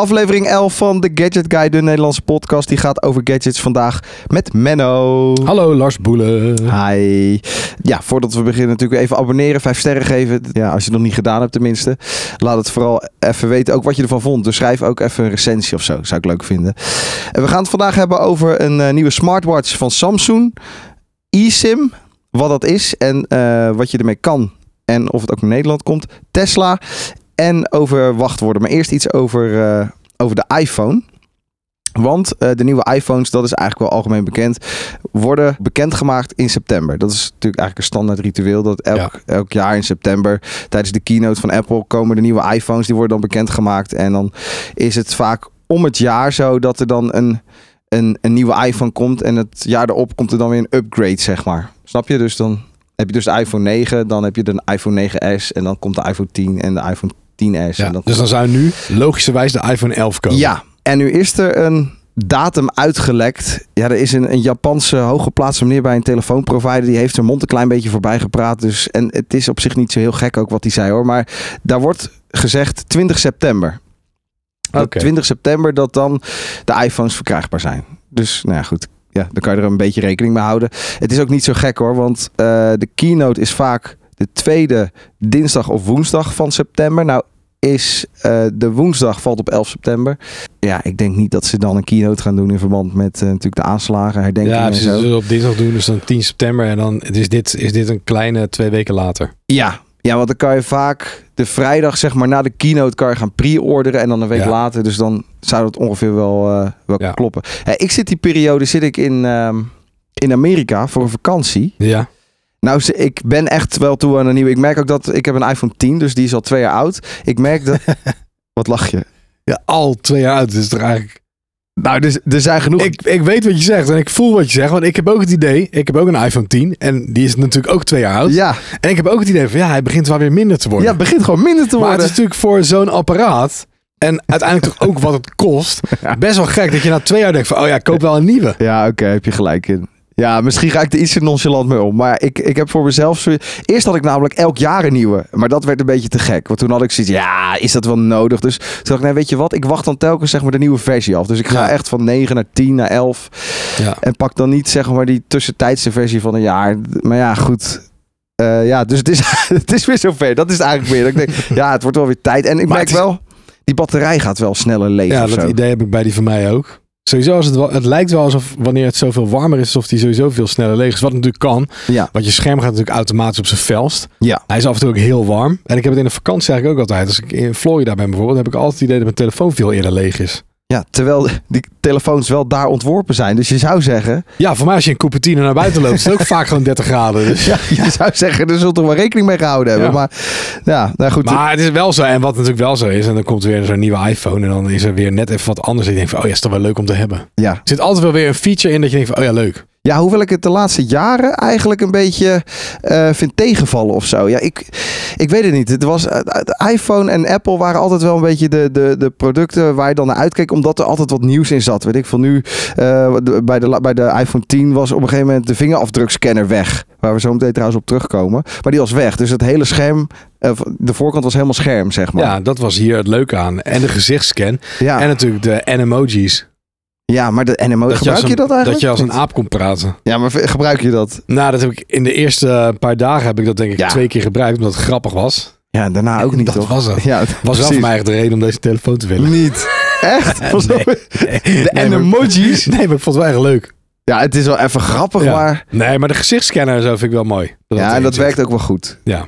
Aflevering 11 van de Gadget Guy, de Nederlandse podcast. Die gaat over gadgets vandaag met Menno. Hallo Lars Boelen. Ah, Hi. Ja, voordat we beginnen natuurlijk even abonneren, vijf sterren geven. Ja, als je het nog niet gedaan hebt tenminste. Laat het vooral even weten, ook wat je ervan vond. Dus schrijf ook even een recensie of zo, zou ik leuk vinden. En we gaan het vandaag hebben over een eh, nieuwe smartwatch van Samsung. eSIM, wat dat is en eh, wat je ermee kan. En of het ook in Nederland komt. Tesla en over wachtwoorden. Maar eerst iets over, eh, over de iPhone. Want eh, de nieuwe iPhones, dat is eigenlijk wel algemeen bekend, worden bekendgemaakt in september. Dat is natuurlijk eigenlijk een standaard ritueel. Dat elk, Ja. elk jaar in september, tijdens de keynote van Apple, komen de nieuwe iPhones. Die worden dan bekendgemaakt. En dan is het vaak om het jaar zo dat er dan een, een, een nieuwe iPhone komt. En het jaar erop komt er dan weer een upgrade, zeg maar. Snap je? Dus dan heb je dus de iPhone 9, dan heb je de iPhone 9S. En dan komt de iPhone 10 en de iPhone 10S. Ja, en dan dus dan zou nu logischerwijs de iPhone 11 komen. ja, en nu is er een datum uitgelekt. Ja, er is een, een Japanse hooggeplaatste meneer bij een telefoonprovider. Die heeft zijn mond een klein beetje voorbij gepraat. Dus, en het is op zich niet zo heel gek ook wat hij zei hoor. Maar daar wordt gezegd 20 september. Dat Oké. 20 september dat dan de iPhones verkrijgbaar zijn. Dus nou ja, goed. Ja, dan kan je er een beetje rekening mee houden. Het is ook niet zo gek hoor, want eh, de keynote is vaak de tweede dinsdag of woensdag van september. Nou is eh, de woensdag, valt op 11 september. Ja, ik denk niet dat ze dan een keynote gaan doen in verband met eh, natuurlijk de aanslagen, herdenking Ja, en precies. zo. Dus op dinsdag doen, dus dan 10 september. En dan is dit, is dit een kleine twee weken later. Ja. ja, want dan kan je vaak de vrijdag, zeg maar, na de keynote kan je gaan pre-orderen en dan een week Ja. later. Dus dan zou dat ongeveer wel, eh, wel Ja. kloppen. Hé, ik zit die periode zit ik in, ehm, in Amerika voor een vakantie. Ja. Nou, ze- ik ben echt wel toe aan een nieuwe. Ik merk ook dat ik heb een iPhone 10, dus die is al twee jaar oud. Ik merk dat. Wat lach je? ja, al twee jaar uit is het eigenlijk... Nou, dus er zijn genoeg. Ik, ik weet wat je zegt en ik voel wat je zegt. Want ik heb ook het idee, ik heb ook een iPhone 10. En die is natuurlijk ook twee jaar oud. ja, En ik heb ook het idee van, ja, hij begint wel weer minder te worden. ja, het begint gewoon minder te maar worden. het is natuurlijk voor zo'n apparaat... En uiteindelijk toch ook wat het kost. Ja. Best wel gek dat je na twee jaar denkt van, oh ja, ik koop wel een nieuwe. Ja, oké, heb je gelijk in. Ja, misschien ga ik er iets te nonchalant mee om. Maar ik, ik heb voor mezelf... zo- Eerst had ik namelijk elk jaar een nieuwe. Maar dat werd een beetje te gek. Want toen had ik zoiets... Ja, is dat wel nodig? Dus toen dacht ik... Nee, weet je wat? Ik wacht dan telkens zeg maar de nieuwe versie af. Dus ik ga Ja. echt van 9 naar 10 naar 11. Ja. En pak dan niet zeg maar die tussentijdse versie van een jaar. Maar ja, goed. Eh, ja, dus het is, het is weer zover. Dat is het eigenlijk weer. Dat ik denk, ja, het wordt wel weer tijd. En ik Maar merk het is- wel... Die batterij gaat wel sneller leeg Ja, of dat zo. idee heb ik bij die van mij ook. Sowieso, als het, wel, het lijkt wel alsof wanneer het zoveel warmer is, alsof die sowieso veel sneller leeg is. Wat natuurlijk kan, Ja. want je scherm gaat natuurlijk automatisch op zijn felst. Ja. Hij is af en toe ook heel warm. En ik heb het in de vakantie eigenlijk ook altijd. Als ik in Florida ben bijvoorbeeld, heb ik altijd het idee dat mijn telefoon veel eerder leeg is. Ja, terwijl die telefoons wel daar ontworpen zijn. Dus je zou zeggen, Ja, voor mij als je in Cupertino naar buiten loopt, is het ook vaak gewoon 30 graden. Dus. ja, je zou zeggen, er zult toch wel rekening mee gehouden hebben. Ja. Maar ja, nou goed. Maar het is wel zo. En wat natuurlijk wel zo is, en dan komt weer zo'n nieuwe iPhone en dan is er weer net even wat anders. Ik denk van, oh ja, is toch wel leuk om te hebben. Er ja. zit altijd wel weer een feature in dat je denkt van, oh ja, leuk. ja, hoewel ik het de laatste jaren eigenlijk een beetje eh, vind tegenvallen of zo. Ja, ik, ik weet het niet. Het was, eh, eh, iPhone en Apple waren altijd wel een beetje de, de, de producten waar je dan naar uitkeek. Omdat er altijd wat nieuws in zat. Weet ik van nu, eh, de- bij, de, la- bij de iPhone 10 was op een gegeven moment de vingerafdrukscanner weg. Waar we zo meteen trouwens op terugkomen. Maar die was weg. Dus het hele scherm, eh, de voorkant was helemaal scherm, zeg maar. Ja, dat was hier het leuke aan. En de gezichtsscan. Ja, En natuurlijk de emoji's. ja maar de NMO, Oh, gebruik je, als een- dat eigenlijk? Dat je als een niet? aap kon praten. Ja, maar v- gebruik je dat? Nou, dat heb ik in de eerste eh, paar dagen heb ik dat denk ik Ja. twee keer gebruikt, omdat het grappig was. Ja, daarna ook En niet, dat toch? was het. Ja, Was wel voor mij echt de reden om deze telefoon te willen. Niet. Echt? Was Nee. dat- De emojis? Nee, maar ik vond het wel echt leuk. Ja, het is wel even grappig, Ja. maar... Nee, maar de gezichtsscanner en zo vind ik wel mooi. Ja, en erin dat zit. werkt ook wel goed. Ja.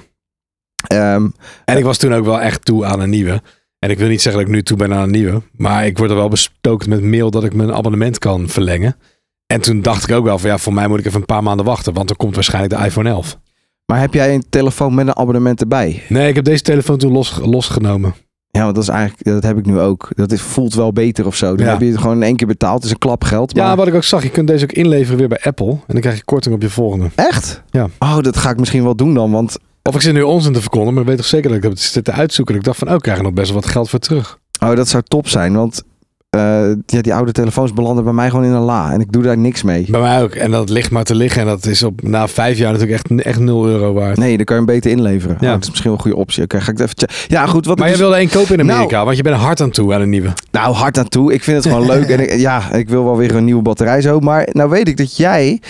Ehm, En ik was toen ook wel echt toe aan een nieuwe. En ik wil niet zeggen dat ik nu toe ben aan een nieuwe. Maar ik word er wel bestookt met mail dat ik mijn abonnement kan verlengen. En toen dacht ik ook wel van ja, voor mij moet ik even een paar maanden wachten. Want er komt waarschijnlijk de iPhone 11. maar heb jij een telefoon met een abonnement erbij? Nee, ik heb deze telefoon toen los, losgenomen. Ja, want dat is eigenlijk... Dat heb ik nu ook. Dat is, voelt wel beter of zo. Dan Ja. heb je het gewoon in één keer betaald. Het is een klap geld, maar... Ja, wat ik ook zag, je kunt deze ook inleveren weer bij Apple. En dan krijg je korting op je volgende. Echt? Ja. Oh, dat ga ik misschien wel doen dan, want... Of ik zit nu onzin te verkondigen, maar ik weet toch zeker dat ik dat zit te uitzoeken. Ik dacht van, oh, ik krijg er nog best wel wat geld voor terug. Oh, dat zou top zijn, want... eh, eh, ja, die oude telefoons belanden bij mij gewoon in een la. En ik doe daar niks mee. Bij mij ook. En dat ligt maar te liggen. En dat is op, na vijf jaar natuurlijk echt, echt 0 euro waard. Nee, dan kan je hem beter inleveren. Ja. Oh, dat is misschien wel een goede optie. Oké, ga ik het even checken. Ja, goed. Wat Maar ik jij dus- wilde één kopen in Nou- Amerika, want je bent er hard aan toe aan een nieuwe. Nou, hard aan toe. Ik vind het gewoon leuk. En ik, ja, ik wil wel weer een nieuwe batterij zo. Maar nou weet ik dat jij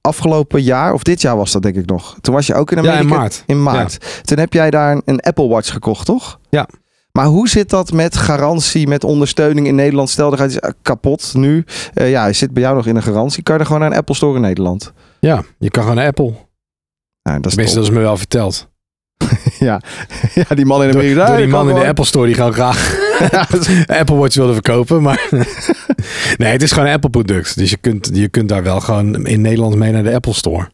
afgelopen jaar, of dit jaar was dat denk ik nog. Toen was je ook in Ja, Amerika. in maart. In maart. Toen heb jij daar een, een Apple Watch gekocht, toch? Ja. Maar hoe zit dat met garantie, met ondersteuning in Nederland? Stel, er gaat iets eh, kapot nu. Eh, ja, hij zit bij jou nog in een garantie. Kan je er gewoon naar een Apple Store in Nederland? Ja, je kan gewoon naar Apple. Nou, dat is Tenminste, dat top. is me wel verteld. Ja, die man in Door, Amerika. door ja, die dat kan man in de gewoon. Apple Store die gewoon graag Apple Watch wilde verkopen. Maar nee, het is gewoon een Apple product. Dus je kunt, je kunt daar wel gewoon in Nederland mee naar de Apple Store.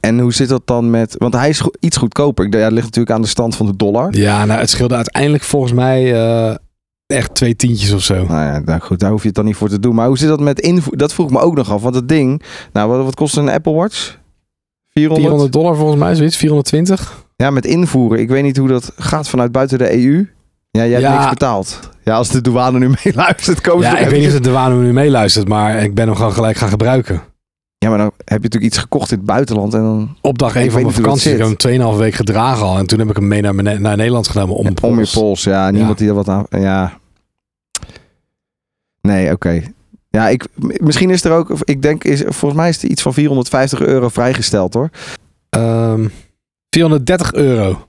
En hoe zit dat dan met... Want hij is go- iets goedkoper. Ik- Ja, dat ligt natuurlijk aan de stand van de dollar. Ja, nou, het scheelde uiteindelijk volgens mij eh, echt twee tientjes of zo. Nou ja, nou goed, daar hoef je het dan niet voor te doen. Maar hoe zit dat met invoer? Dat vroeg ik me ook nog af. Want dat ding, nou, wat, wat kost een Apple Watch? 400? 400 dollar volgens mij, zoiets. 420. Ja, met invoeren. Ik weet niet hoe dat gaat vanuit buiten de EU. Ja, jij hebt Ja. niks betaald. Ja, als de douane nu meeluistert, komen ze Ja, ik er weet niet of even- de douane nu meeluistert, maar ik ben hem gewoon gelijk gaan gebruiken. Ja, maar dan heb je natuurlijk iets gekocht in het buitenland. En dan Op dag Ik 1 van weet mijn niet hoe dat vakantie heb zit. ik hem 2,5 week gedragen al. En toen heb ik hem mee naar, mijn- naar Nederland genomen om, om je pols. pols. Ja, niemand die er wat aan... Ja. Nee, oké. Ja, ik, m- misschien is er ook... Ik denk, is, volgens mij is er iets van 450 euro vrijgesteld, hoor. Ehm, 430 euro.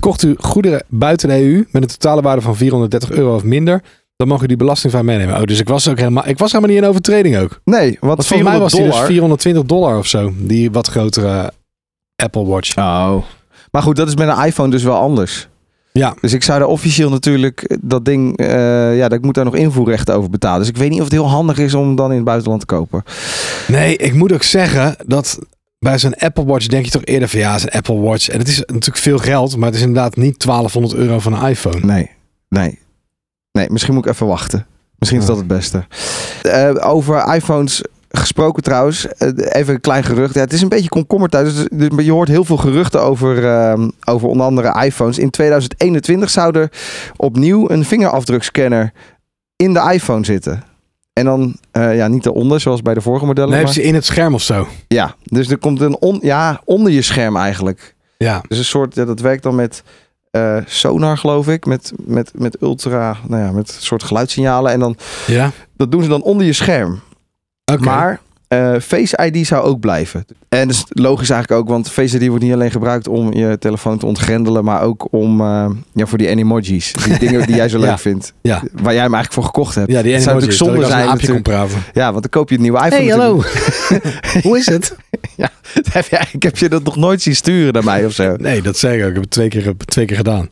Kocht u goederen buiten de EU met een totale waarde van 430 euro of minder, dan mag u die belastingvrij meenemen. Oh, dus ik was ook helemaal, ik was helemaal niet in overtreding ook. Nee, want Want volgens mij 400 was die dus dollar... 420 dollar of zo, die wat grotere Apple Watch. Oh. Maar goed, dat is met een iPhone dus wel anders. Ja. Dus ik zou daar officieel natuurlijk dat ding, eh, ja, dat ik moet daar nog invoerrechten over betalen. Dus ik weet niet of het heel handig is om dan in het buitenland te kopen. Nee, ik moet ook zeggen dat bij zo'n Apple Watch denk je toch eerder van ja, is een Apple Watch. En het is natuurlijk veel geld, maar het is inderdaad niet 1200 euro van een iPhone. Nee, nee. Nee, misschien moet ik even wachten. Misschien is Ja. dat het beste. Eh, over iPhones gesproken trouwens, eh, even een klein gerucht. Ja, het is een beetje komkommer thuis, dus, dus- maar je hoort heel veel geruchten over, ehm, over onder andere iPhones. In 2021 zou er opnieuw een vingerafdrukscanner in de iPhone zitten. En dan eh, ja, niet eronder, zoals bij de vorige modellen. Nee, hebben maar, ze in het scherm of zo. ja, dus er komt een on, ja, onder je scherm eigenlijk. Ja. Dus een soort, ja, dat werkt dan met eh, sonar, geloof ik. Met, met, met ultra, nou ja, met soort geluidssignalen. En dan, Ja. dat doen ze dan onder je scherm. Oké. Maar eh, Face ID zou ook blijven. En dat is logisch eigenlijk ook, want Face ID wordt niet alleen gebruikt om je telefoon te ontgrendelen, maar ook om eh, ja, voor die animojis. Die dingen die jij zo leuk Ja. vindt. Ja. Waar jij hem eigenlijk voor gekocht hebt. Ja, die Het zou emoji, natuurlijk dat ik zonde als een zijn aapje kon praten. Ja, want dan koop je een nieuwe iPhone. natuurlijk. Hoe is het? Heb jij- ik heb je dat nog nooit zien sturen naar mij of zo. Nee, dat zeg ik ook. Ik heb het twee keer, twee keer gedaan.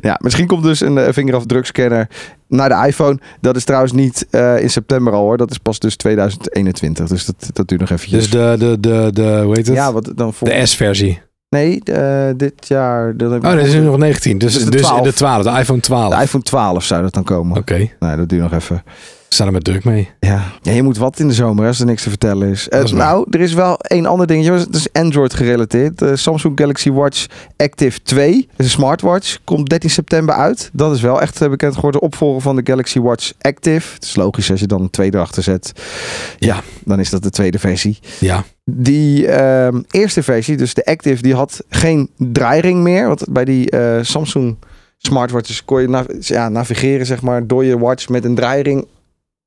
Ja, misschien komt dus een eh, vingerafdrukscanner naar de iPhone. Dat is trouwens niet eh, in september al hoor. Dat is pas dus 2021. Dus dat, dat duurt nog eventjes. Dus de, de, de, de hoe heet het? ja, wat dan voor... de S-versie. Nee, eh, dit jaar... Dan heb ik Oh, dat is nu nog 19. Dus, Dus dus, de de, 12. 12. de de iPhone 12. De Oké, iPhone 12 zou dat dan komen. Oh. Nee, dat duurt nog even. we staan er met druk mee. Ja. ja, je moet wat in de zomer hè, als er niks te vertellen is. Eh, Dat is waar. nou, er is wel één ander dingetje. maar Het is Android gerelateerd. De Samsung Galaxy Watch Active 2. Dat is een smartwatch. Komt 13 september uit. Dat is wel echt eh, bekend geworden. Opvolger van de Galaxy Watch Active. Het is logisch als je dan een tweede achter zet. Ja, Ja. dan is dat de tweede versie. Ja, Die ehm, eerste versie, dus de Active, die had geen draairing meer. Want bij die eh, Samsung smartwatches kon je nav- ja, navigeren zeg maar, door je watch met een draairing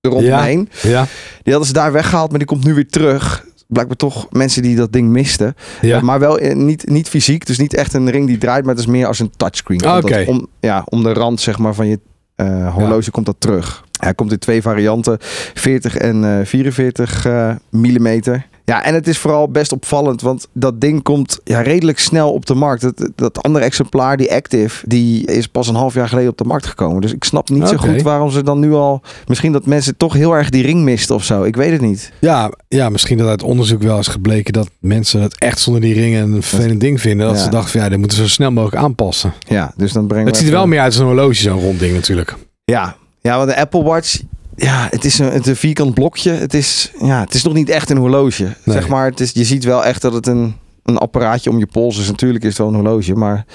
eromheen. ja, Die hadden ze daar weggehaald, maar die komt nu weer terug. Blijkbaar toch mensen die dat ding misten. ja. Maar wel eh, niet, niet fysiek, dus niet echt een ring die draait, maar het is meer als een touchscreen. Ah, Omdat oké. om, ja, om de rand zeg maar, van je eh, horloge komt dat terug. Hij komt in twee varianten, 40 en eh, 44 eh, millimeter. Ja, en het is vooral best opvallend, want dat ding komt ja, redelijk snel op de markt. Dat, dat andere exemplaar, die Active, die is pas een half jaar geleden op de markt gekomen. Dus ik snap niet Oké. zo goed waarom ze dan nu al... Misschien dat mensen toch heel erg die ring misten of zo. Ik weet het niet. ja, ja, misschien dat uit onderzoek wel is gebleken dat mensen het echt zonder die ringen een vervelend ding vinden. Dat Ja. ze dachten van ja, dit moeten we zo snel mogelijk aanpassen. Ja, dus dan brengen Het we ziet er even- wel meer uit als een horloge, zo'n rond ding natuurlijk. Ja, ja want de Apple Watch, ja, het is een, het is een vierkant blokje. Het is, ja, het is nog niet echt een horloge. Nee. Zeg maar, het is, je ziet wel echt dat het een, een apparaatje om je pols. Dus natuurlijk is het wel een horloge. Maar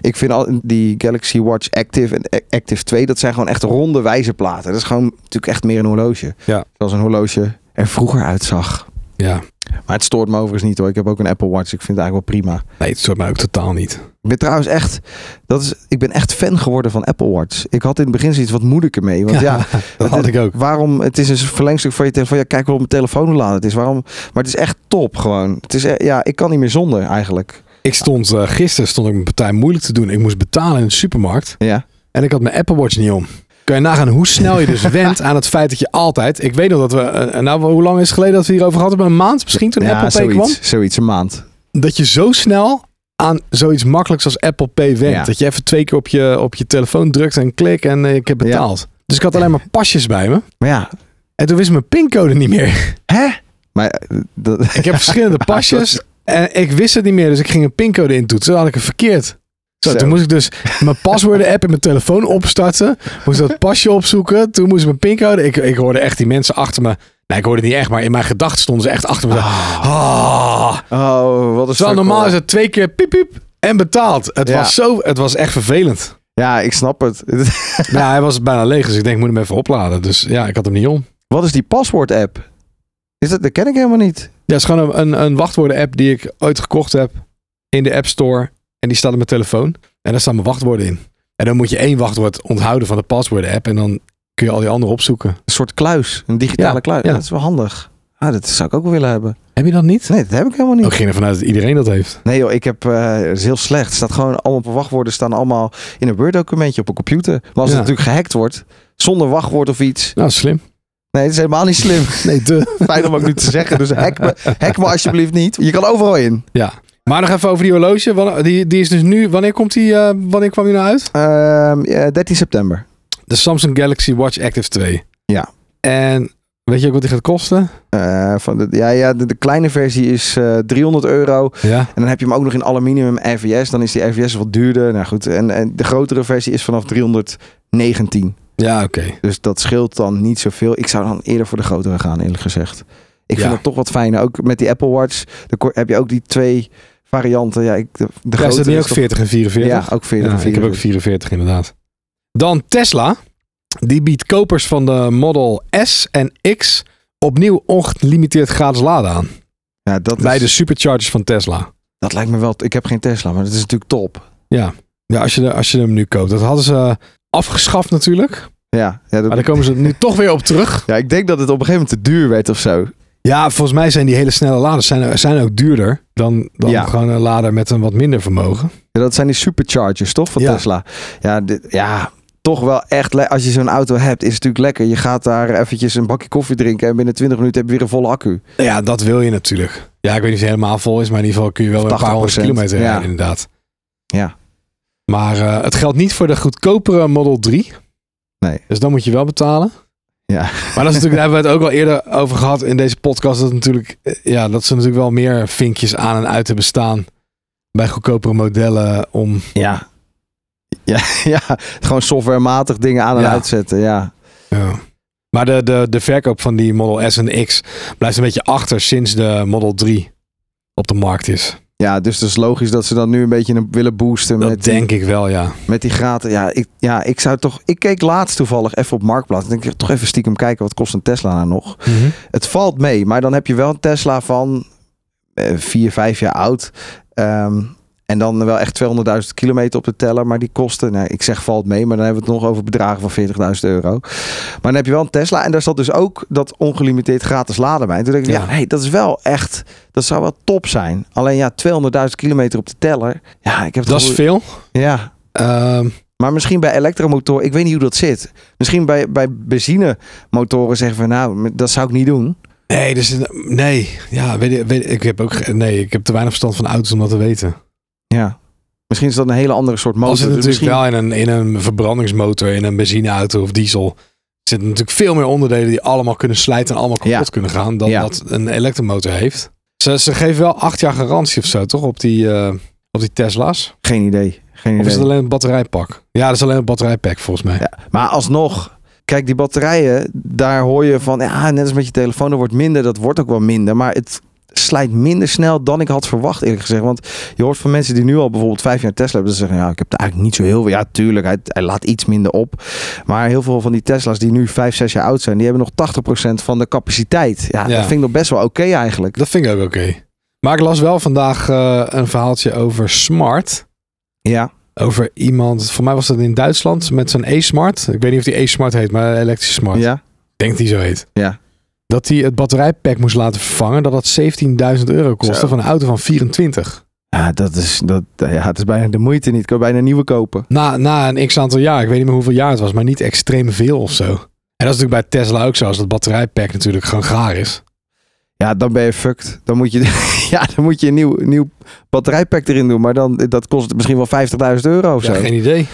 ik vind al die Galaxy Watch Active en A- Active 2, dat zijn gewoon echt ronde wijzerplaten. Dat is gewoon natuurlijk echt meer een horloge. Ja. Zoals een horloge er vroeger uitzag. Ja. Maar het stoort me overigens niet hoor. Ik heb ook een Apple Watch. Ik vind het eigenlijk wel prima. Nee, het stoort mij ook totaal niet. Ik ben trouwens echt, dat is, ik ben echt fan geworden van Apple Watch. Ik had in het begin zoiets wat moeilijker mee. Want ja, dat had ik ook. waarom, het is een verlengstuk van je telefoon. Ja, kijk wel op mijn telefoon hoe laat het is. Waarom, maar het is echt top gewoon. Het is, e- ja, ik kan niet meer zonder eigenlijk. Ik stond, eh, gisteren stond ik mijn partij moeilijk te doen. Ik moest betalen in de supermarkt Ja. en ik had mijn Apple Watch niet om. Kun je nagaan hoe snel je dus went aan het feit dat je altijd... Ik weet nog dat we... eh, nou, hoe lang is het geleden dat we hierover gehad hebben? Een maand misschien toen ja, Apple Pay kwam? zoiets, zoiets, een maand. dat je zo snel aan zoiets makkelijks als Apple Pay went. Ja. Dat je even twee keer op je, op je telefoon drukt en klik en eh, ik heb betaald. Dus ik had alleen maar pasjes bij me. Maar ja, En toen wist mijn pincode niet meer. hè? Maar eh, dat, Ik heb verschillende pasjes en ik wist het niet meer. Dus ik ging een pincode intoetsen. Dan had ik het verkeerd. Zo, Zo. Toen moest ik dus mijn paswoorden app in mijn telefoon opstarten. Moest dat pasje opzoeken. Toen moest ik mijn pincode. Ik, ik hoorde echt die mensen achter me. Nou, ik hoorde het niet echt, maar in mijn gedachten stonden ze echt achter me. Zo, "Ah." oh, wat is Terwijl normaal is het twee keer piep piep en betaald. Het, Ja. was, zo, het was echt vervelend. Ja, ik snap het. ja, hij was bijna leeg, dus ik denk, ik moet hem even opladen. Dus ja, ik had hem niet om. wat is die paswoord-app? Is dat, dat ken ik helemaal niet. Ja, het is gewoon een, een, een wachtwoorden-app die ik ooit gekocht heb in de App Store. En die staat op mijn telefoon. En daar staan mijn wachtwoorden in. En dan moet je één wachtwoord onthouden van de paswoorden-app. En dan kun je al die andere opzoeken. Een soort kluis, een digitale Ja, kluis. ja. Dat is wel handig. Ah, dat zou ik ook wel willen hebben. Heb je dat niet? Nee, dat heb ik helemaal niet. Ik ging ervan uit dat iedereen dat heeft. Nou, Nee joh, ik heb, eh, het is heel slecht. Het staat gewoon allemaal op wachtwoorden, staan allemaal in een Word documentje op een computer. Maar als Ja. het natuurlijk gehackt wordt, zonder wachtwoord of iets. Nou, slim. Nee, dat is helemaal niet slim. Nee, te. Fijn om ook nu te zeggen, dus hack me, hack me alsjeblieft niet. Je kan overal in. Ja. Maar nog even over die horloge. Wanneer- Die, die is dus nu... Wanneer, komt die, eh, wanneer kwam die nou uit? Ehm, ja, 13 september. De Samsung Galaxy Watch Active 2. Ja. En weet je ook wat die gaat kosten? Eh, van de, ja, ja, de, de kleine versie is eh, 300 euro. Ja. En dan heb je hem ook nog in aluminium RVS. Dan is die RVS wat duurder. Nou goed, en, en de grotere versie is vanaf 319. Ja, oké. Dus dat scheelt dan niet zoveel. Ik zou dan eerder voor de grotere gaan, eerlijk gezegd. Ik vind Ja. het toch wat fijner. Ook met die Apple Watch dan ko- heb je ook die twee varianten. Ja, ik, de, de Ja, is grotere dat niet ook toch- 40 en 44? Ja, ook 40. Ja, ik heb ook 44 inderdaad. Dan Tesla. Die biedt kopers van de Model S en X opnieuw ongelimiteerd gratis laden aan. Ja, dat, Bij is- de superchargers van Tesla. dat lijkt me wel... Ik heb geen Tesla, maar dat is natuurlijk top. Ja, ja als, je, de- als je hem nu koopt. Dat hadden ze afgeschaft natuurlijk. Ja, ja, dat- Maar daar komen ze nu toch weer op terug. ja, ik denk dat het op een gegeven moment te duur werd of zo. Ja, volgens mij zijn die hele snelle laders zijn, zijn ook duurder dan, dan Ja. gewoon een lader met een wat minder vermogen. Ja, dat zijn die superchargers, toch? Van Ja. Tesla. Ja, dit- ja, toch wel echt. le- Als je zo'n auto hebt, is het natuurlijk lekker. Je gaat daar eventjes een bakje koffie drinken. En binnen 20 minuten heb je weer een volle accu. Nou Ja, dat wil je natuurlijk. Ja, ik weet niet of hij helemaal vol is, maar in ieder geval kun je wel weer een paar honderd 80%, kilometer ja. rijden, inderdaad. Ja. Maar eh, het geldt niet voor de goedkopere Model 3. Nee. Dus dan moet je wel betalen. Ja. Maar dat is natuurlijk, daar hebben we het ook al eerder over gehad in deze podcast. Dat, natuurlijk, eh, ja, dat ze natuurlijk wel meer vinkjes aan en uit hebben staan bij goedkopere modellen om... Ja. Ja, ja, gewoon softwarematig dingen aan en Ja. uitzetten. Ja. Ja. Maar de, de, de verkoop van die Model S en X blijft een beetje achter sinds de Model 3 op de markt is. ja, dus het is logisch dat ze dat nu een beetje een- willen boosten Dat met, denk ik wel, ja. die, met die gratis. Ja ik, ja, ik zou toch. Ik keek laatst toevallig even op Marktplaats. Ik denk ik toch even stiekem kijken wat kost een Tesla nou nog. Het valt mee, maar dan heb je wel een Tesla van eh, vier, vijf jaar oud. Ehm, en dan wel echt 200.000 kilometer op de teller. Maar die kosten, nou, ik zeg valt mee, maar dan hebben we het nog over bedragen van 40.000 euro. Maar dan heb je wel een Tesla. En daar zat dus ook dat ongelimiteerd gratis laden bij. En toen dacht ik, ja, Ja. hey, dat is wel echt, dat zou wel top zijn. Alleen ja, 200.000 kilometer op de teller. Ja, ik heb het Dat is gevoel- veel. Ja, Ehm, maar misschien bij elektromotoren, ik weet niet hoe dat zit. Misschien bij, bij benzinemotoren zeggen van nou, dat zou ik niet doen. nee, dus, nee. Ja, weet, ik- weet, ik heb ook ge- nee, ik heb te weinig verstand van auto's om dat te weten. Ja. Misschien is dat een hele andere soort motor. Als het Dus natuurlijk misschien- wel in een, in een verbrandingsmotor, in een benzineauto of diesel, zitten natuurlijk veel meer onderdelen die allemaal kunnen slijten en allemaal kapot Ja. kunnen gaan dan Ja. dat een elektromotor heeft. Ze, ze geven wel acht jaar garantie of zo, toch? Op die, eh, op die Tesla's. Geen idee. Geen Of is idee. het alleen een batterijpak? Ja, dat is alleen een batterijpack volgens mij. Maar alsnog, kijk, die batterijen, daar hoor je van, ja, net als met je telefoon, er wordt minder. Dat wordt ook wel minder. Maar het slijt minder snel dan ik had verwacht, eerlijk gezegd. Want je hoort van mensen die nu al bijvoorbeeld vijf jaar Tesla hebben, dat ze zeggen, ja, ik heb er eigenlijk niet zo heel veel. Ja, tuurlijk, hij, hij laat iets minder op. Maar heel veel van die Tesla's die nu vijf, zes jaar oud zijn, die hebben nog 80% van de capaciteit. Ja, Ja. dat vind ik nog best wel oké eigenlijk. Dat vind ik ook oké. Maar ik las wel vandaag eh, een verhaaltje over smart. Ja, Over iemand, voor mij was dat in Duitsland, met zo'n e-smart. Ik weet niet of die e-smart heet, maar elektrische smart. ja. Ik denk die zo heet. Ja. Dat hij het batterijpack moest laten vervangen. Dat dat 17.000 euro kostte Zo. van een auto van 24. Ja, dat is, dat, eh, ja, het is bijna de moeite niet. Ik kan bijna een nieuwe kopen. Na, na een x aantal jaar. Ik weet niet meer hoeveel jaar het was. Maar niet extreem veel of zo. En dat is natuurlijk bij Tesla ook zo. Als dat batterijpack natuurlijk gewoon gaar is. Ja, dan ben je fucked. Dan moet je, ja, dan moet je een nieuw, nieuw batterijpack erin doen. Maar dan, dat kost misschien wel 50.000 euro of zo. Ja, Ja, geen idee.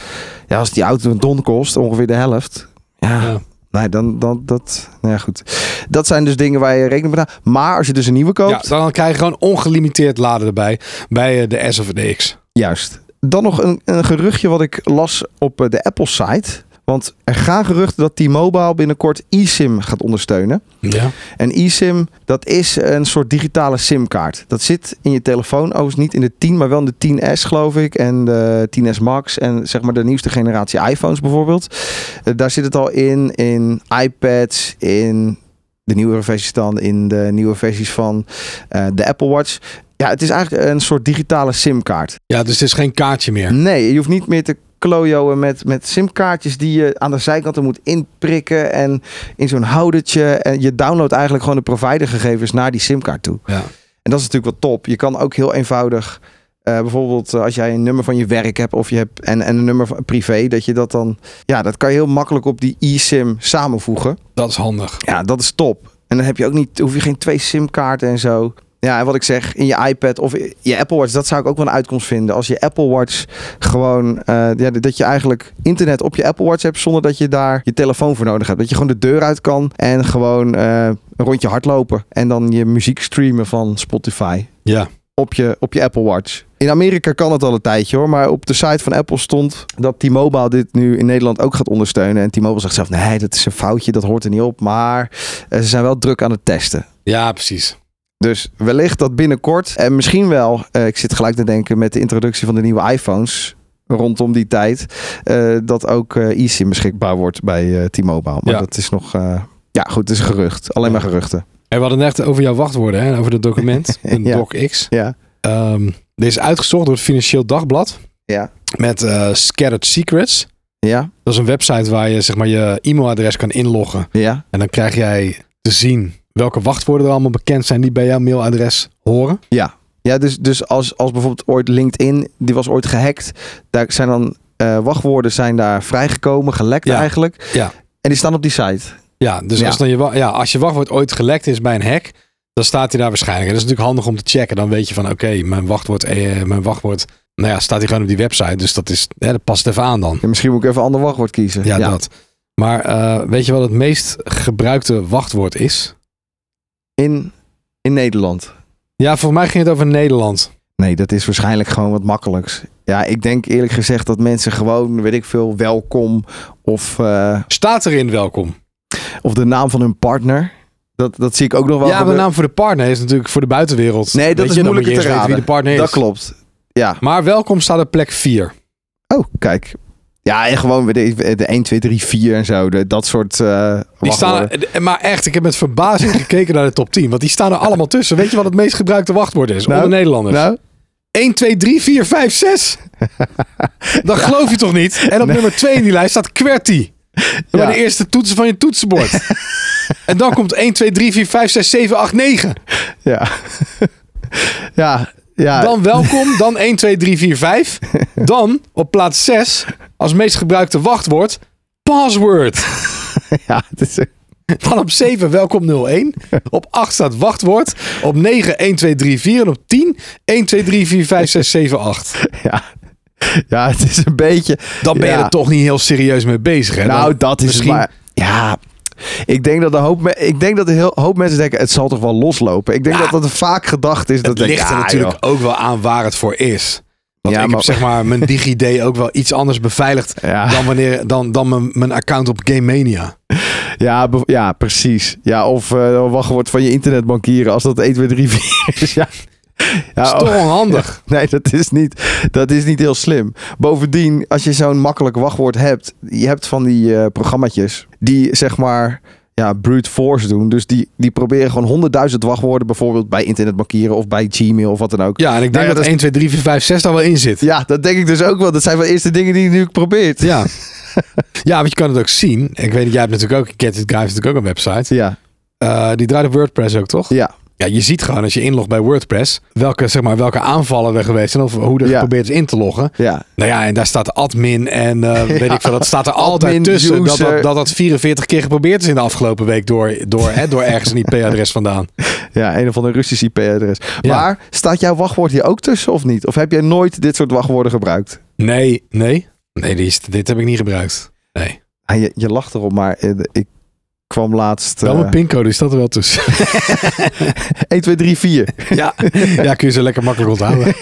als die auto een ton kost, ongeveer de helft. Ja, Ja. nee, dan, dan dat. Nou ja, goed. Dat zijn dus dingen waar je rekening mee houdt. Maar als je dus een nieuwe Ja, koopt, dan krijg je gewoon ongelimiteerd laden erbij. Bij eh, de S of de X. Juist. Dan nog een, een geruchtje wat ik las op eh, de Apple-site. Want er gaan geruchten dat T-Mobile binnenkort eSIM gaat ondersteunen. Ja. En eSIM, dat is een soort digitale SIM-kaart. Dat zit in je telefoon, overigens niet in de 10, maar wel in de 10S geloof ik. En de 10S Max en zeg maar de nieuwste generatie iPhones bijvoorbeeld. Eh, daar zit het al in, in iPads, in de nieuwere versies dan, in de nieuwe versies van eh, de Apple Watch. Ja, het is eigenlijk een soort digitale SIM-kaart. ja, dus het is geen kaartje meer. Nee, je hoeft niet meer te klojoen met, met simkaartjes die je aan de zijkanten moet inprikken en in zo'n houdertje. En je downloadt eigenlijk gewoon de providergegevens naar die simkaart toe. Ja. En dat is natuurlijk wel top. Je kan ook heel eenvoudig, eh, bijvoorbeeld eh, als jij een nummer van je werk hebt of je hebt en, en een nummer van privé, dat je dat dan, ja, dat kan je heel makkelijk op die e-sim samenvoegen. Dat is handig. Ja, dat is top. En dan heb je ook niet, hoef je geen twee simkaarten en zo. Ja, en wat ik zeg, in je iPad of je Apple Watch, dat zou ik ook wel een uitkomst vinden. Als je Apple Watch gewoon, eh, ja, dat je eigenlijk internet op je Apple Watch hebt zonder dat je daar je telefoon voor nodig hebt. Dat je gewoon de deur uit kan en gewoon eh, een rondje hardlopen en dan je muziek streamen van Spotify Ja. op je, op je Apple Watch. In Amerika kan het al een tijdje hoor, maar op de site van Apple stond dat T-Mobile dit nu in Nederland ook gaat ondersteunen. En T-Mobile zegt zelf, nee, dat is een foutje, dat hoort er niet op. Maar eh, ze zijn wel druk aan het testen. Ja, precies. Dus wellicht dat binnenkort, en misschien wel, eh, ik zit gelijk te denken met de introductie van de nieuwe iPhones rondom die tijd, eh, dat ook eh eSIM beschikbaar wordt bij eh, T-Mobile. Maar Ja. dat is nog, eh, ja goed, het is een gerucht. Alleen maar geruchten. En we hadden het net over jouw wachtwoorden hè, en over dat document, een Ja. DocX. Ja, Ehm dit is uitgezocht door het Financieel Dagblad ja, met eh, Scattered Secrets. ja, Dat is een website waar je zeg maar, je e-mailadres kan inloggen. ja. En dan krijg jij te zien welke wachtwoorden er allemaal bekend zijn die bij jouw mailadres horen. Ja, dus, dus als, als bijvoorbeeld ooit LinkedIn, die was ooit gehackt. Daar zijn dan eh, wachtwoorden zijn daar vrijgekomen, gelekt Ja. eigenlijk. Ja. En die staan op die site. Ja, dus Ja. Als, dan je, wa- ja, als je wachtwoord ooit gelekt is bij een hack, dan staat hij daar waarschijnlijk. En dat is natuurlijk handig om te checken. Dan weet je van oké, mijn wachtwoord, eh, mijn wachtwoord, nou ja, staat hij gewoon op die website. Dus dat, is, hè, dat past even aan dan. En misschien moet ik even een ander wachtwoord kiezen. Ja, dat. Maar eh, weet je wat het meest gebruikte wachtwoord is? In, in Nederland. Ja, voor mij ging het over Nederland. Nee, dat is waarschijnlijk gewoon wat makkelijks. Ja, ik denk eerlijk gezegd dat mensen gewoon, weet ik veel, welkom of, eh, Staat erin welkom. of de naam van hun partner. Dat, dat zie ik ook nog wel. ja, maar de gebeuren. naam voor de partner is natuurlijk voor de buitenwereld. Nee, dat Weet is je, dan moeilijker moet je te eerst raden. weten wie de partner is. Dat klopt. Ja. Maar welkom staat op plek 4. Oh, kijk. Ja, en gewoon weet ik, de 1, 2, 3, 4 en zo. de- dat soort eh Die staan, wachtwoorden. eh, maar echt, ik heb met verbazing gekeken naar de top 10. Want die staan er allemaal tussen. Weet je wat het meest gebruikte wachtwoord is? Nou, onder Nederlanders. Nou, 1, 2, 3, 4, 5, 6. Dat geloof je toch niet? En op nummer 2 in die lijst staat QWERTY. Bij Ja. de eerste toetsen van je toetsenbord. en dan komt 1, 2, 3, 4, 5, 6, 7, 8, 9. Ja. ja, ja. Dan welkom, dan 1, 2, 3, 4, 5. Dan op plaats 6, als meest gebruikte wachtwoord, password. ja het is, Dan op 7, welkom 01. Op 8 staat wachtwoord. Op 9, 1, 2, 3, 4. En op 10, 1, 2, 3, 4, 5, 6, 7, 8. ja. ja, het is een beetje... Dan ben je Ja. er toch niet heel serieus mee bezig. Hè? Nou, Dan- dat is misschien- misschien... maar... Ja, ik denk dat een hoop, me- ik denk dat een heel, hoop mensen denken... het zal toch wel loslopen? Ik denk Ja. dat dat vaak gedacht is. dat Het denk ik, ligt er ah, natuurlijk joh. ook wel aan waar het voor is. Want Ja, ik maar- heb zeg maar mijn DigiD ook wel iets anders beveiligd Ja. Oh. dan, wanneer, dan, dan mijn, mijn account op Game Mania. Ja, be- ja precies. Ja, of eh, wacht wordt van je internetbankieren als dat 1, 2, 3, 4 is. Ja. Ja, is toch onhandig. Nee, dat is, niet, dat is niet heel slim. Bovendien, als je zo'n makkelijk wachtwoord hebt, je hebt van die eh programmaatjes die zeg maar ja, brute force doen. Dus die, die proberen gewoon honderdduizend wachtwoorden bijvoorbeeld bij internetbankieren of bij Gmail of wat dan ook. Ja, en ik denk Nou ja, dat, dat is- 1, 2, 3, 4, 5, 6 daar wel in zit. Ja, dat denk ik dus ook wel. Dat zijn wel eerst de dingen die je nu probeert. Ja. ja, want je kan het ook zien. Ik weet dat jij hebt natuurlijk ook, Get It Guy heeft natuurlijk ook een website. Ja, Eh, die draait op WordPress ook, toch? ja. Ja, je ziet gewoon als je inlogt bij WordPress welke, zeg maar, welke aanvallen er geweest zijn of hoe er Ja. geprobeerd is in te loggen. ja. Nou ja, en daar staat admin en eh, weet ik veel, dat staat er altijd Admin, tussen. Dat dat, user. dat dat 44 keer geprobeerd is in de afgelopen week door, door, hè, door ergens een IP-adres vandaan. Ja, een of ander Russisch IP-adres. Ja. Maar staat jouw wachtwoord hier ook tussen of niet? Of heb jij nooit dit soort wachtwoorden gebruikt? Nee, nee. Nee, die is, dit heb ik niet gebruikt. Nee. Ah, je, je lacht erop, maar eh, ik kwam laatst... Wel eh, mijn pincode is dat er wel tussen. 1, 2, 3, 4. ja. ja, kun je ze lekker makkelijk onthouden.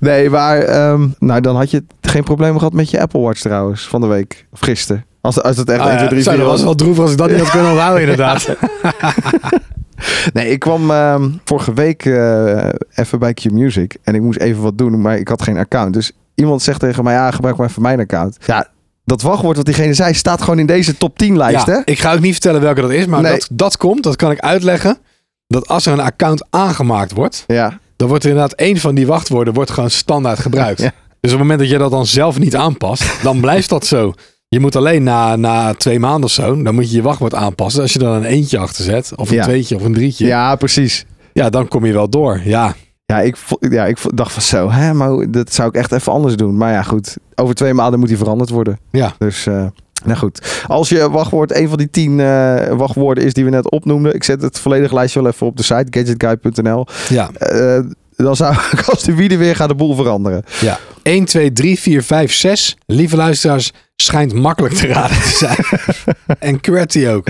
Nee, maar ehm, nou, dan had je geen probleem gehad met je Apple Watch trouwens van de week. Of gisteren. Als, als het echt Ah, 1, 2, 3, zo, 4 dat was was. wel droef als ik dat niet had kunnen onthouden inderdaad. Nee, ik kwam ehm, vorige week eh, even bij Q Music. En ik moest even wat doen, maar ik had geen account. Dus iemand zegt tegen mij, ja, gebruik maar even mijn account. Ja, dat wachtwoord wat diegene zei staat gewoon in deze top 10 lijst, Ja, hè? Ik ga ook niet vertellen welke dat is, maar Nee. dat, dat komt, dat kan ik uitleggen. Dat als er een account aangemaakt wordt, Ja, dan wordt er inderdaad één van die wachtwoorden wordt gewoon standaard gebruikt. Ja. Dus op het moment dat je dat dan zelf niet aanpast, dan blijft dat zo. Je moet alleen na, na twee maanden of zo, dan moet je je wachtwoord aanpassen. Als je dan een eentje achter zet, of een Ja. tweetje, of een drietje, ja. ja precies. dan kom je wel door. Ja, Ja, ik, vo- ja, ik vo- dacht van zo, hè, maar hoe- dat zou ik echt even anders doen. Maar ja, goed, over twee maanden moet die veranderd worden. Ja. Dus, eh, nou goed. Als je wachtwoord een van die tien eh, wachtwoorden is die we net opnoemden. Ik zet het volledige lijstje wel even op de site, gadgetguy.nl. ja, Eh, dan zou ik als de wielen weer gaan de boel veranderen. ja. 1, 2, 3, 4, 5, 6. Lieve luisteraars, schijnt makkelijk te raden te zijn. en QWERTY ook.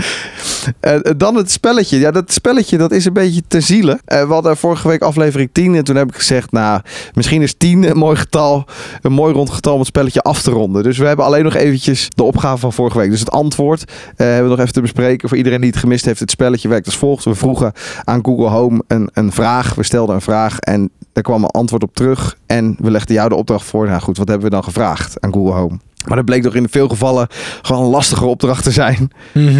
Eh, eh, dan het spelletje. Ja, dat spelletje dat is een beetje te zielen. Eh, we hadden vorige week aflevering 10 en toen heb ik gezegd, nou, misschien is 10 een mooi getal, een mooi rond getal om het spelletje af te ronden. Dus we hebben alleen nog eventjes de opgave van vorige week. Dus het antwoord eh, hebben we nog even te bespreken. Voor iedereen die het gemist heeft, het spelletje werkt als volgt. We vroegen aan Google Home een, een vraag. We stelden een vraag en daar kwam een antwoord op terug. En we legden jou de opdracht voor. Nou goed, wat hebben we dan gevraagd aan Google Home? Maar dat bleek toch in veel gevallen gewoon een lastige opdracht te zijn. Mhm.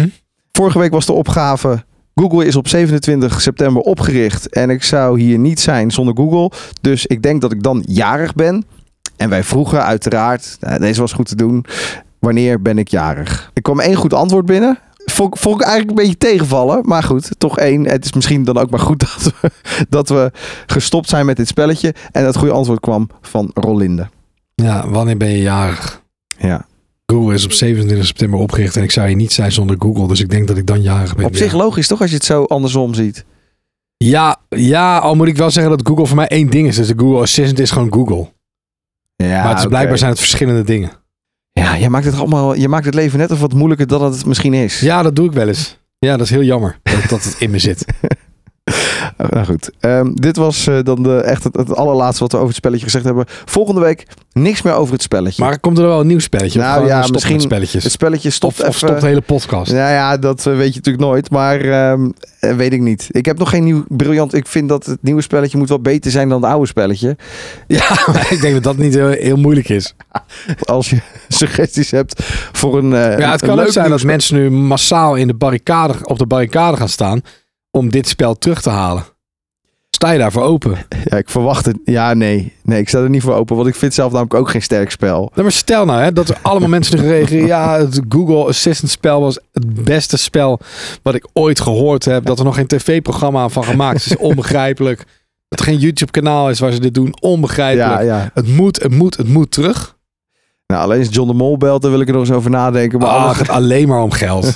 Vorige week was de opgave. Google is op 27 september opgericht. En ik zou hier niet zijn zonder Google. Dus ik denk dat ik dan jarig ben. En wij vroegen uiteraard, nou, deze was goed te doen. Wanneer ben ik jarig? Ik kwam één goed antwoord binnen. Vond, ik- vond ik eigenlijk een beetje tegenvallen. Maar goed, toch één. Het is misschien dan ook maar goed dat we, dat we gestopt zijn met dit spelletje. En het goede antwoord kwam van Rolinde. Ja, wanneer ben je jarig? Ja. Google is op 27 september opgericht en ik zou hier niet zijn zonder Google, dus ik denk dat ik dan jarig ben. Op zich logisch toch als je het zo andersom ziet. Ja, ja, al moet ik wel zeggen dat Google voor mij één ding is. Dus de Google Assistant is gewoon Google. Ja, maar het is blijkbaar zijn het verschillende dingen. Ja, je maakt het allemaal. Je maakt het leven net of wat moeilijker dan dat het misschien is. Ja, dat doe ik wel eens. Ja, dat is heel jammer dat, dat het in me zit. Oh, nou goed. Ehm, dit was eh, dan de, echt het, het allerlaatste wat we over het spelletje gezegd hebben. Volgende week niks meer over het spelletje. Maar komt er wel een nieuw spelletje? Of Nou gewoon ja, stopt met misschien- spelletjes. het spelletje stopt of, of even. stopt de hele podcast. Nou ja, dat eh, weet je natuurlijk nooit. Maar ehm, eh, weet ik niet. Ik heb nog geen nieuw briljant. Ik vind dat het nieuwe spelletje moet wel beter zijn dan het oude spelletje. Ja, maar ik denk dat dat niet heel, heel moeilijk is. Als je suggesties hebt voor een. eh, Ja, het een kan leuk ook zijn nieuw dat mensen nu massaal in de barricade, op de barricade gaan staan om dit spel terug te halen. Sta je daarvoor open? Ja, ik verwacht het. Ja, nee. Nee, ik sta er niet voor open. Want ik vind zelf namelijk ook geen sterk spel. Nou, maar stel nou hè, dat er allemaal mensen nu reageren. Ja, het Google Assistant spel was het beste spel wat ik ooit gehoord heb. Dat er nog geen tv-programma van gemaakt is, is onbegrijpelijk. Dat er geen YouTube-kanaal is waar ze dit doen, onbegrijpelijk. Ja, ja. Het moet, het moet, het moet terug. Nou, alleen als John de Mol belt, dan wil ik er nog eens over nadenken. Maar Maar Ah, het anders- gaat alleen maar om geld.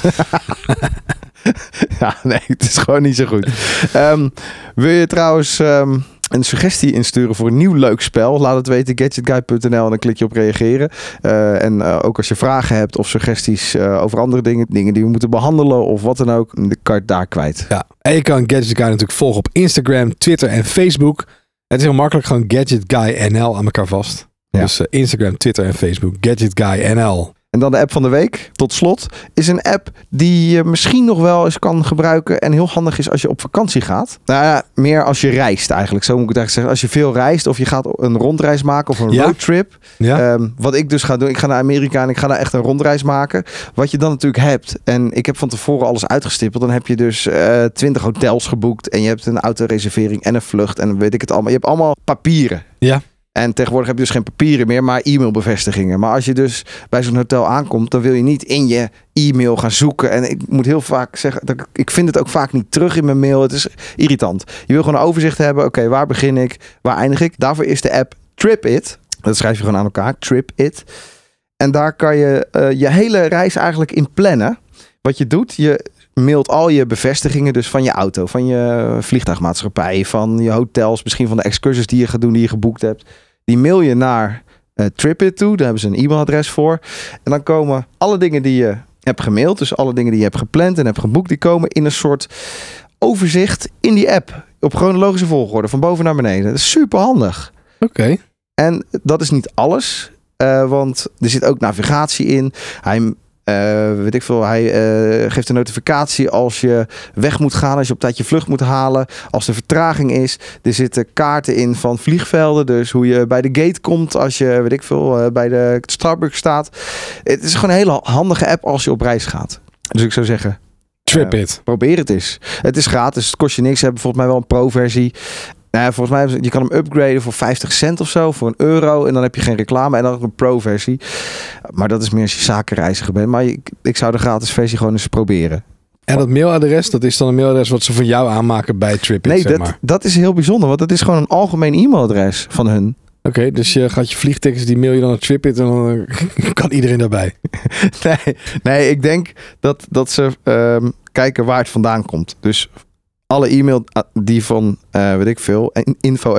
ja, nee, het is gewoon niet zo goed. Ehm, wil je trouwens ehm, een suggestie insturen voor een nieuw leuk spel? Laat het weten, gadgetguy.nl en dan klik je op reageren. Eh, en eh, ook als je vragen hebt of suggesties eh, over andere dingen, dingen die we moeten behandelen of wat dan ook, de kaart daar kwijt. Ja. En je kan Gadget Guy natuurlijk volgen op Instagram, Twitter en Facebook. Het is heel makkelijk, gewoon Gadget Guy NL aan elkaar vast. Ja. Dus eh, Instagram, Twitter en Facebook, Gadget Guy NL. En dan de app van de week, tot slot, is een app die je misschien nog wel eens kan gebruiken en heel handig is als je op vakantie gaat. Nou ja, meer als je reist eigenlijk, zo moet ik het eigenlijk zeggen. Als je veel reist of je gaat een rondreis maken of een Ja. roadtrip. Ja? Ehm, wat ik dus ga doen, ik ga naar Amerika en ik ga daar echt een rondreis maken. Wat je dan natuurlijk hebt, en ik heb van tevoren alles uitgestippeld, dan heb je dus twintig hotels geboekt en je hebt een autoreservering en een vlucht en weet ik het allemaal. Je hebt allemaal papieren. Ja. En tegenwoordig heb je dus geen papieren meer, maar e-mailbevestigingen. Maar als je dus bij zo'n hotel aankomt, dan wil je niet in je e-mail gaan zoeken. En ik moet heel vaak zeggen, dat ik- ik vind het ook vaak niet terug in mijn mail. Het is irritant. Je wil gewoon een overzicht hebben. Oké, waar begin ik? Waar eindig ik? Daarvoor is de app Trip It. Dat schrijf je gewoon aan elkaar. Trip It. En daar kan je eh, je hele reis eigenlijk in plannen. Wat je doet, je mailt al je bevestigingen dus van je auto, van je vliegtuigmaatschappij, van je hotels, misschien van de excursies die je gaat doen, die je geboekt hebt. Die mail je naar eh, TripIt toe. Daar hebben ze een e-mailadres voor. En dan komen alle dingen die je hebt gemaild, dus alle dingen die je hebt gepland en hebt geboekt, die komen in een soort overzicht in die app. Op chronologische volgorde, van boven naar beneden. Dat is super handig. Oké. En dat is niet alles, eh, want er zit ook navigatie in. Hij, eh, weet ik veel, hij eh, geeft een notificatie als je weg moet gaan, als je op tijd je vlucht moet halen, als er vertraging is. Er zitten kaarten in van vliegvelden, dus hoe je bij de gate komt als je, weet ik veel, eh, bij de Starbucks staat. Het is gewoon een hele handige app als je op reis gaat. Dus ik zou zeggen, Trip eh, it. Probeer het eens. Het is gratis, het kost je niks. Ze hebben volgens mij wel een pro-versie. Nou ja, volgens mij, hebben ze- je kan hem upgraden voor 50 cent of zo, voor een euro. En dan heb je geen reclame en dan ook een pro-versie. Maar dat is meer als je zakenreiziger bent. Maar ik, ik zou de gratis versie gewoon eens proberen. En dat mailadres, dat is dan een mailadres wat ze van jou aanmaken bij Trip it, Nee, zeg dat, maar. dat is heel bijzonder, want het is gewoon een algemeen e-mailadres van hun. Oké, dus je gaat je vliegtickets, die mail je dan naar Trip it en dan eh, kan iedereen daarbij. Nee, nee ik denk dat, dat ze ehm, kijken waar het vandaan komt. Dus alle e-mail ah, die van, eh, weet ik veel,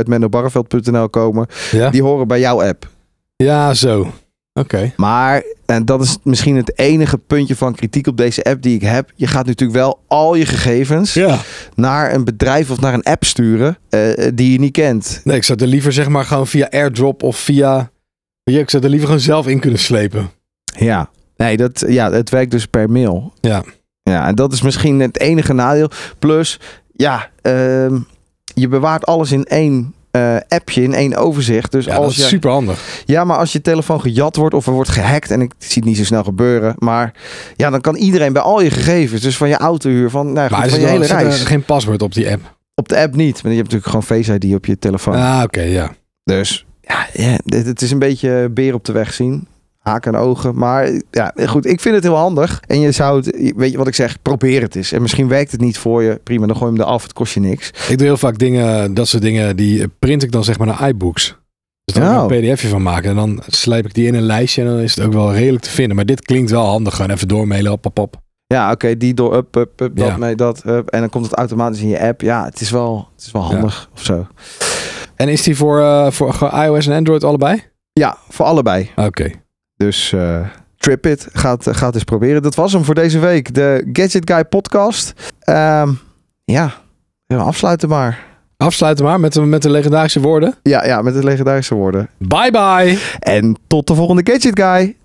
info.mennobarreveld.nl komen, Ja? die horen bij jouw app. Ja, zo. Oké. Maar, en dat is misschien het enige puntje van kritiek op deze app die ik heb. Je gaat natuurlijk wel al je gegevens Ja. naar een bedrijf of naar een app sturen eh, die je niet kent. Nee, ik zou er liever zeg maar gewoon via airdrop of via... Ja, ik zou er liever gewoon zelf in kunnen slepen. Ja. Nee, dat, ja, het werkt dus per mail. Ja. Ja, en dat is misschien het enige nadeel. Plus, ja, ehm, je bewaart alles in één eh, appje, in één overzicht. Dus Ja, dat als is je, super handig. Ja, maar als je telefoon gejat wordt of er wordt gehackt, en ik zie het niet zo snel gebeuren, maar ja, dan kan iedereen bij al je gegevens, dus van je autohuur, van, nou, ja, Maar goed, is van er je dan- hele zit er reis. geen paswoord op die app? Op de app niet, want je hebt natuurlijk gewoon Face ID op je telefoon. Ah, oké, ja. Dus ja, ja, dit- het is een beetje beer op de weg zien. Haken en ogen. Maar ja, goed, ik vind het heel handig. En je zou het, weet je wat ik zeg, probeer het eens. En misschien werkt het niet voor je. Prima, dan gooi je hem eraf. Het kost je niks. Ik doe heel vaak dingen, dat soort dingen, die print ik dan zeg maar naar iBooks. Dus daar Oh. kan ik een pdfje van maken. En dan slijp ik die in een lijstje en dan is het ook wel redelijk te vinden. Maar dit klinkt wel handig. Gewoon even doormailen, op, op, op. Ja, oké, die door up, up, up, dat Ja. mee, dat up. En dan komt het automatisch in je app. Ja, het is wel, het is wel Ja. handig of zo. En is die voor, eh, voor gewoon iOS en Android allebei? Ja, voor allebei. Oké. Dus eh trip it. Gaat, gaat eens proberen. Dat was hem voor deze week. De Gadget Guy podcast. Ehm, ja, ja, afsluiten maar. Afsluiten maar met de, met de legendarische woorden. Ja, ja, met de legendarische woorden. Bye bye! En tot de volgende Gadget Guy.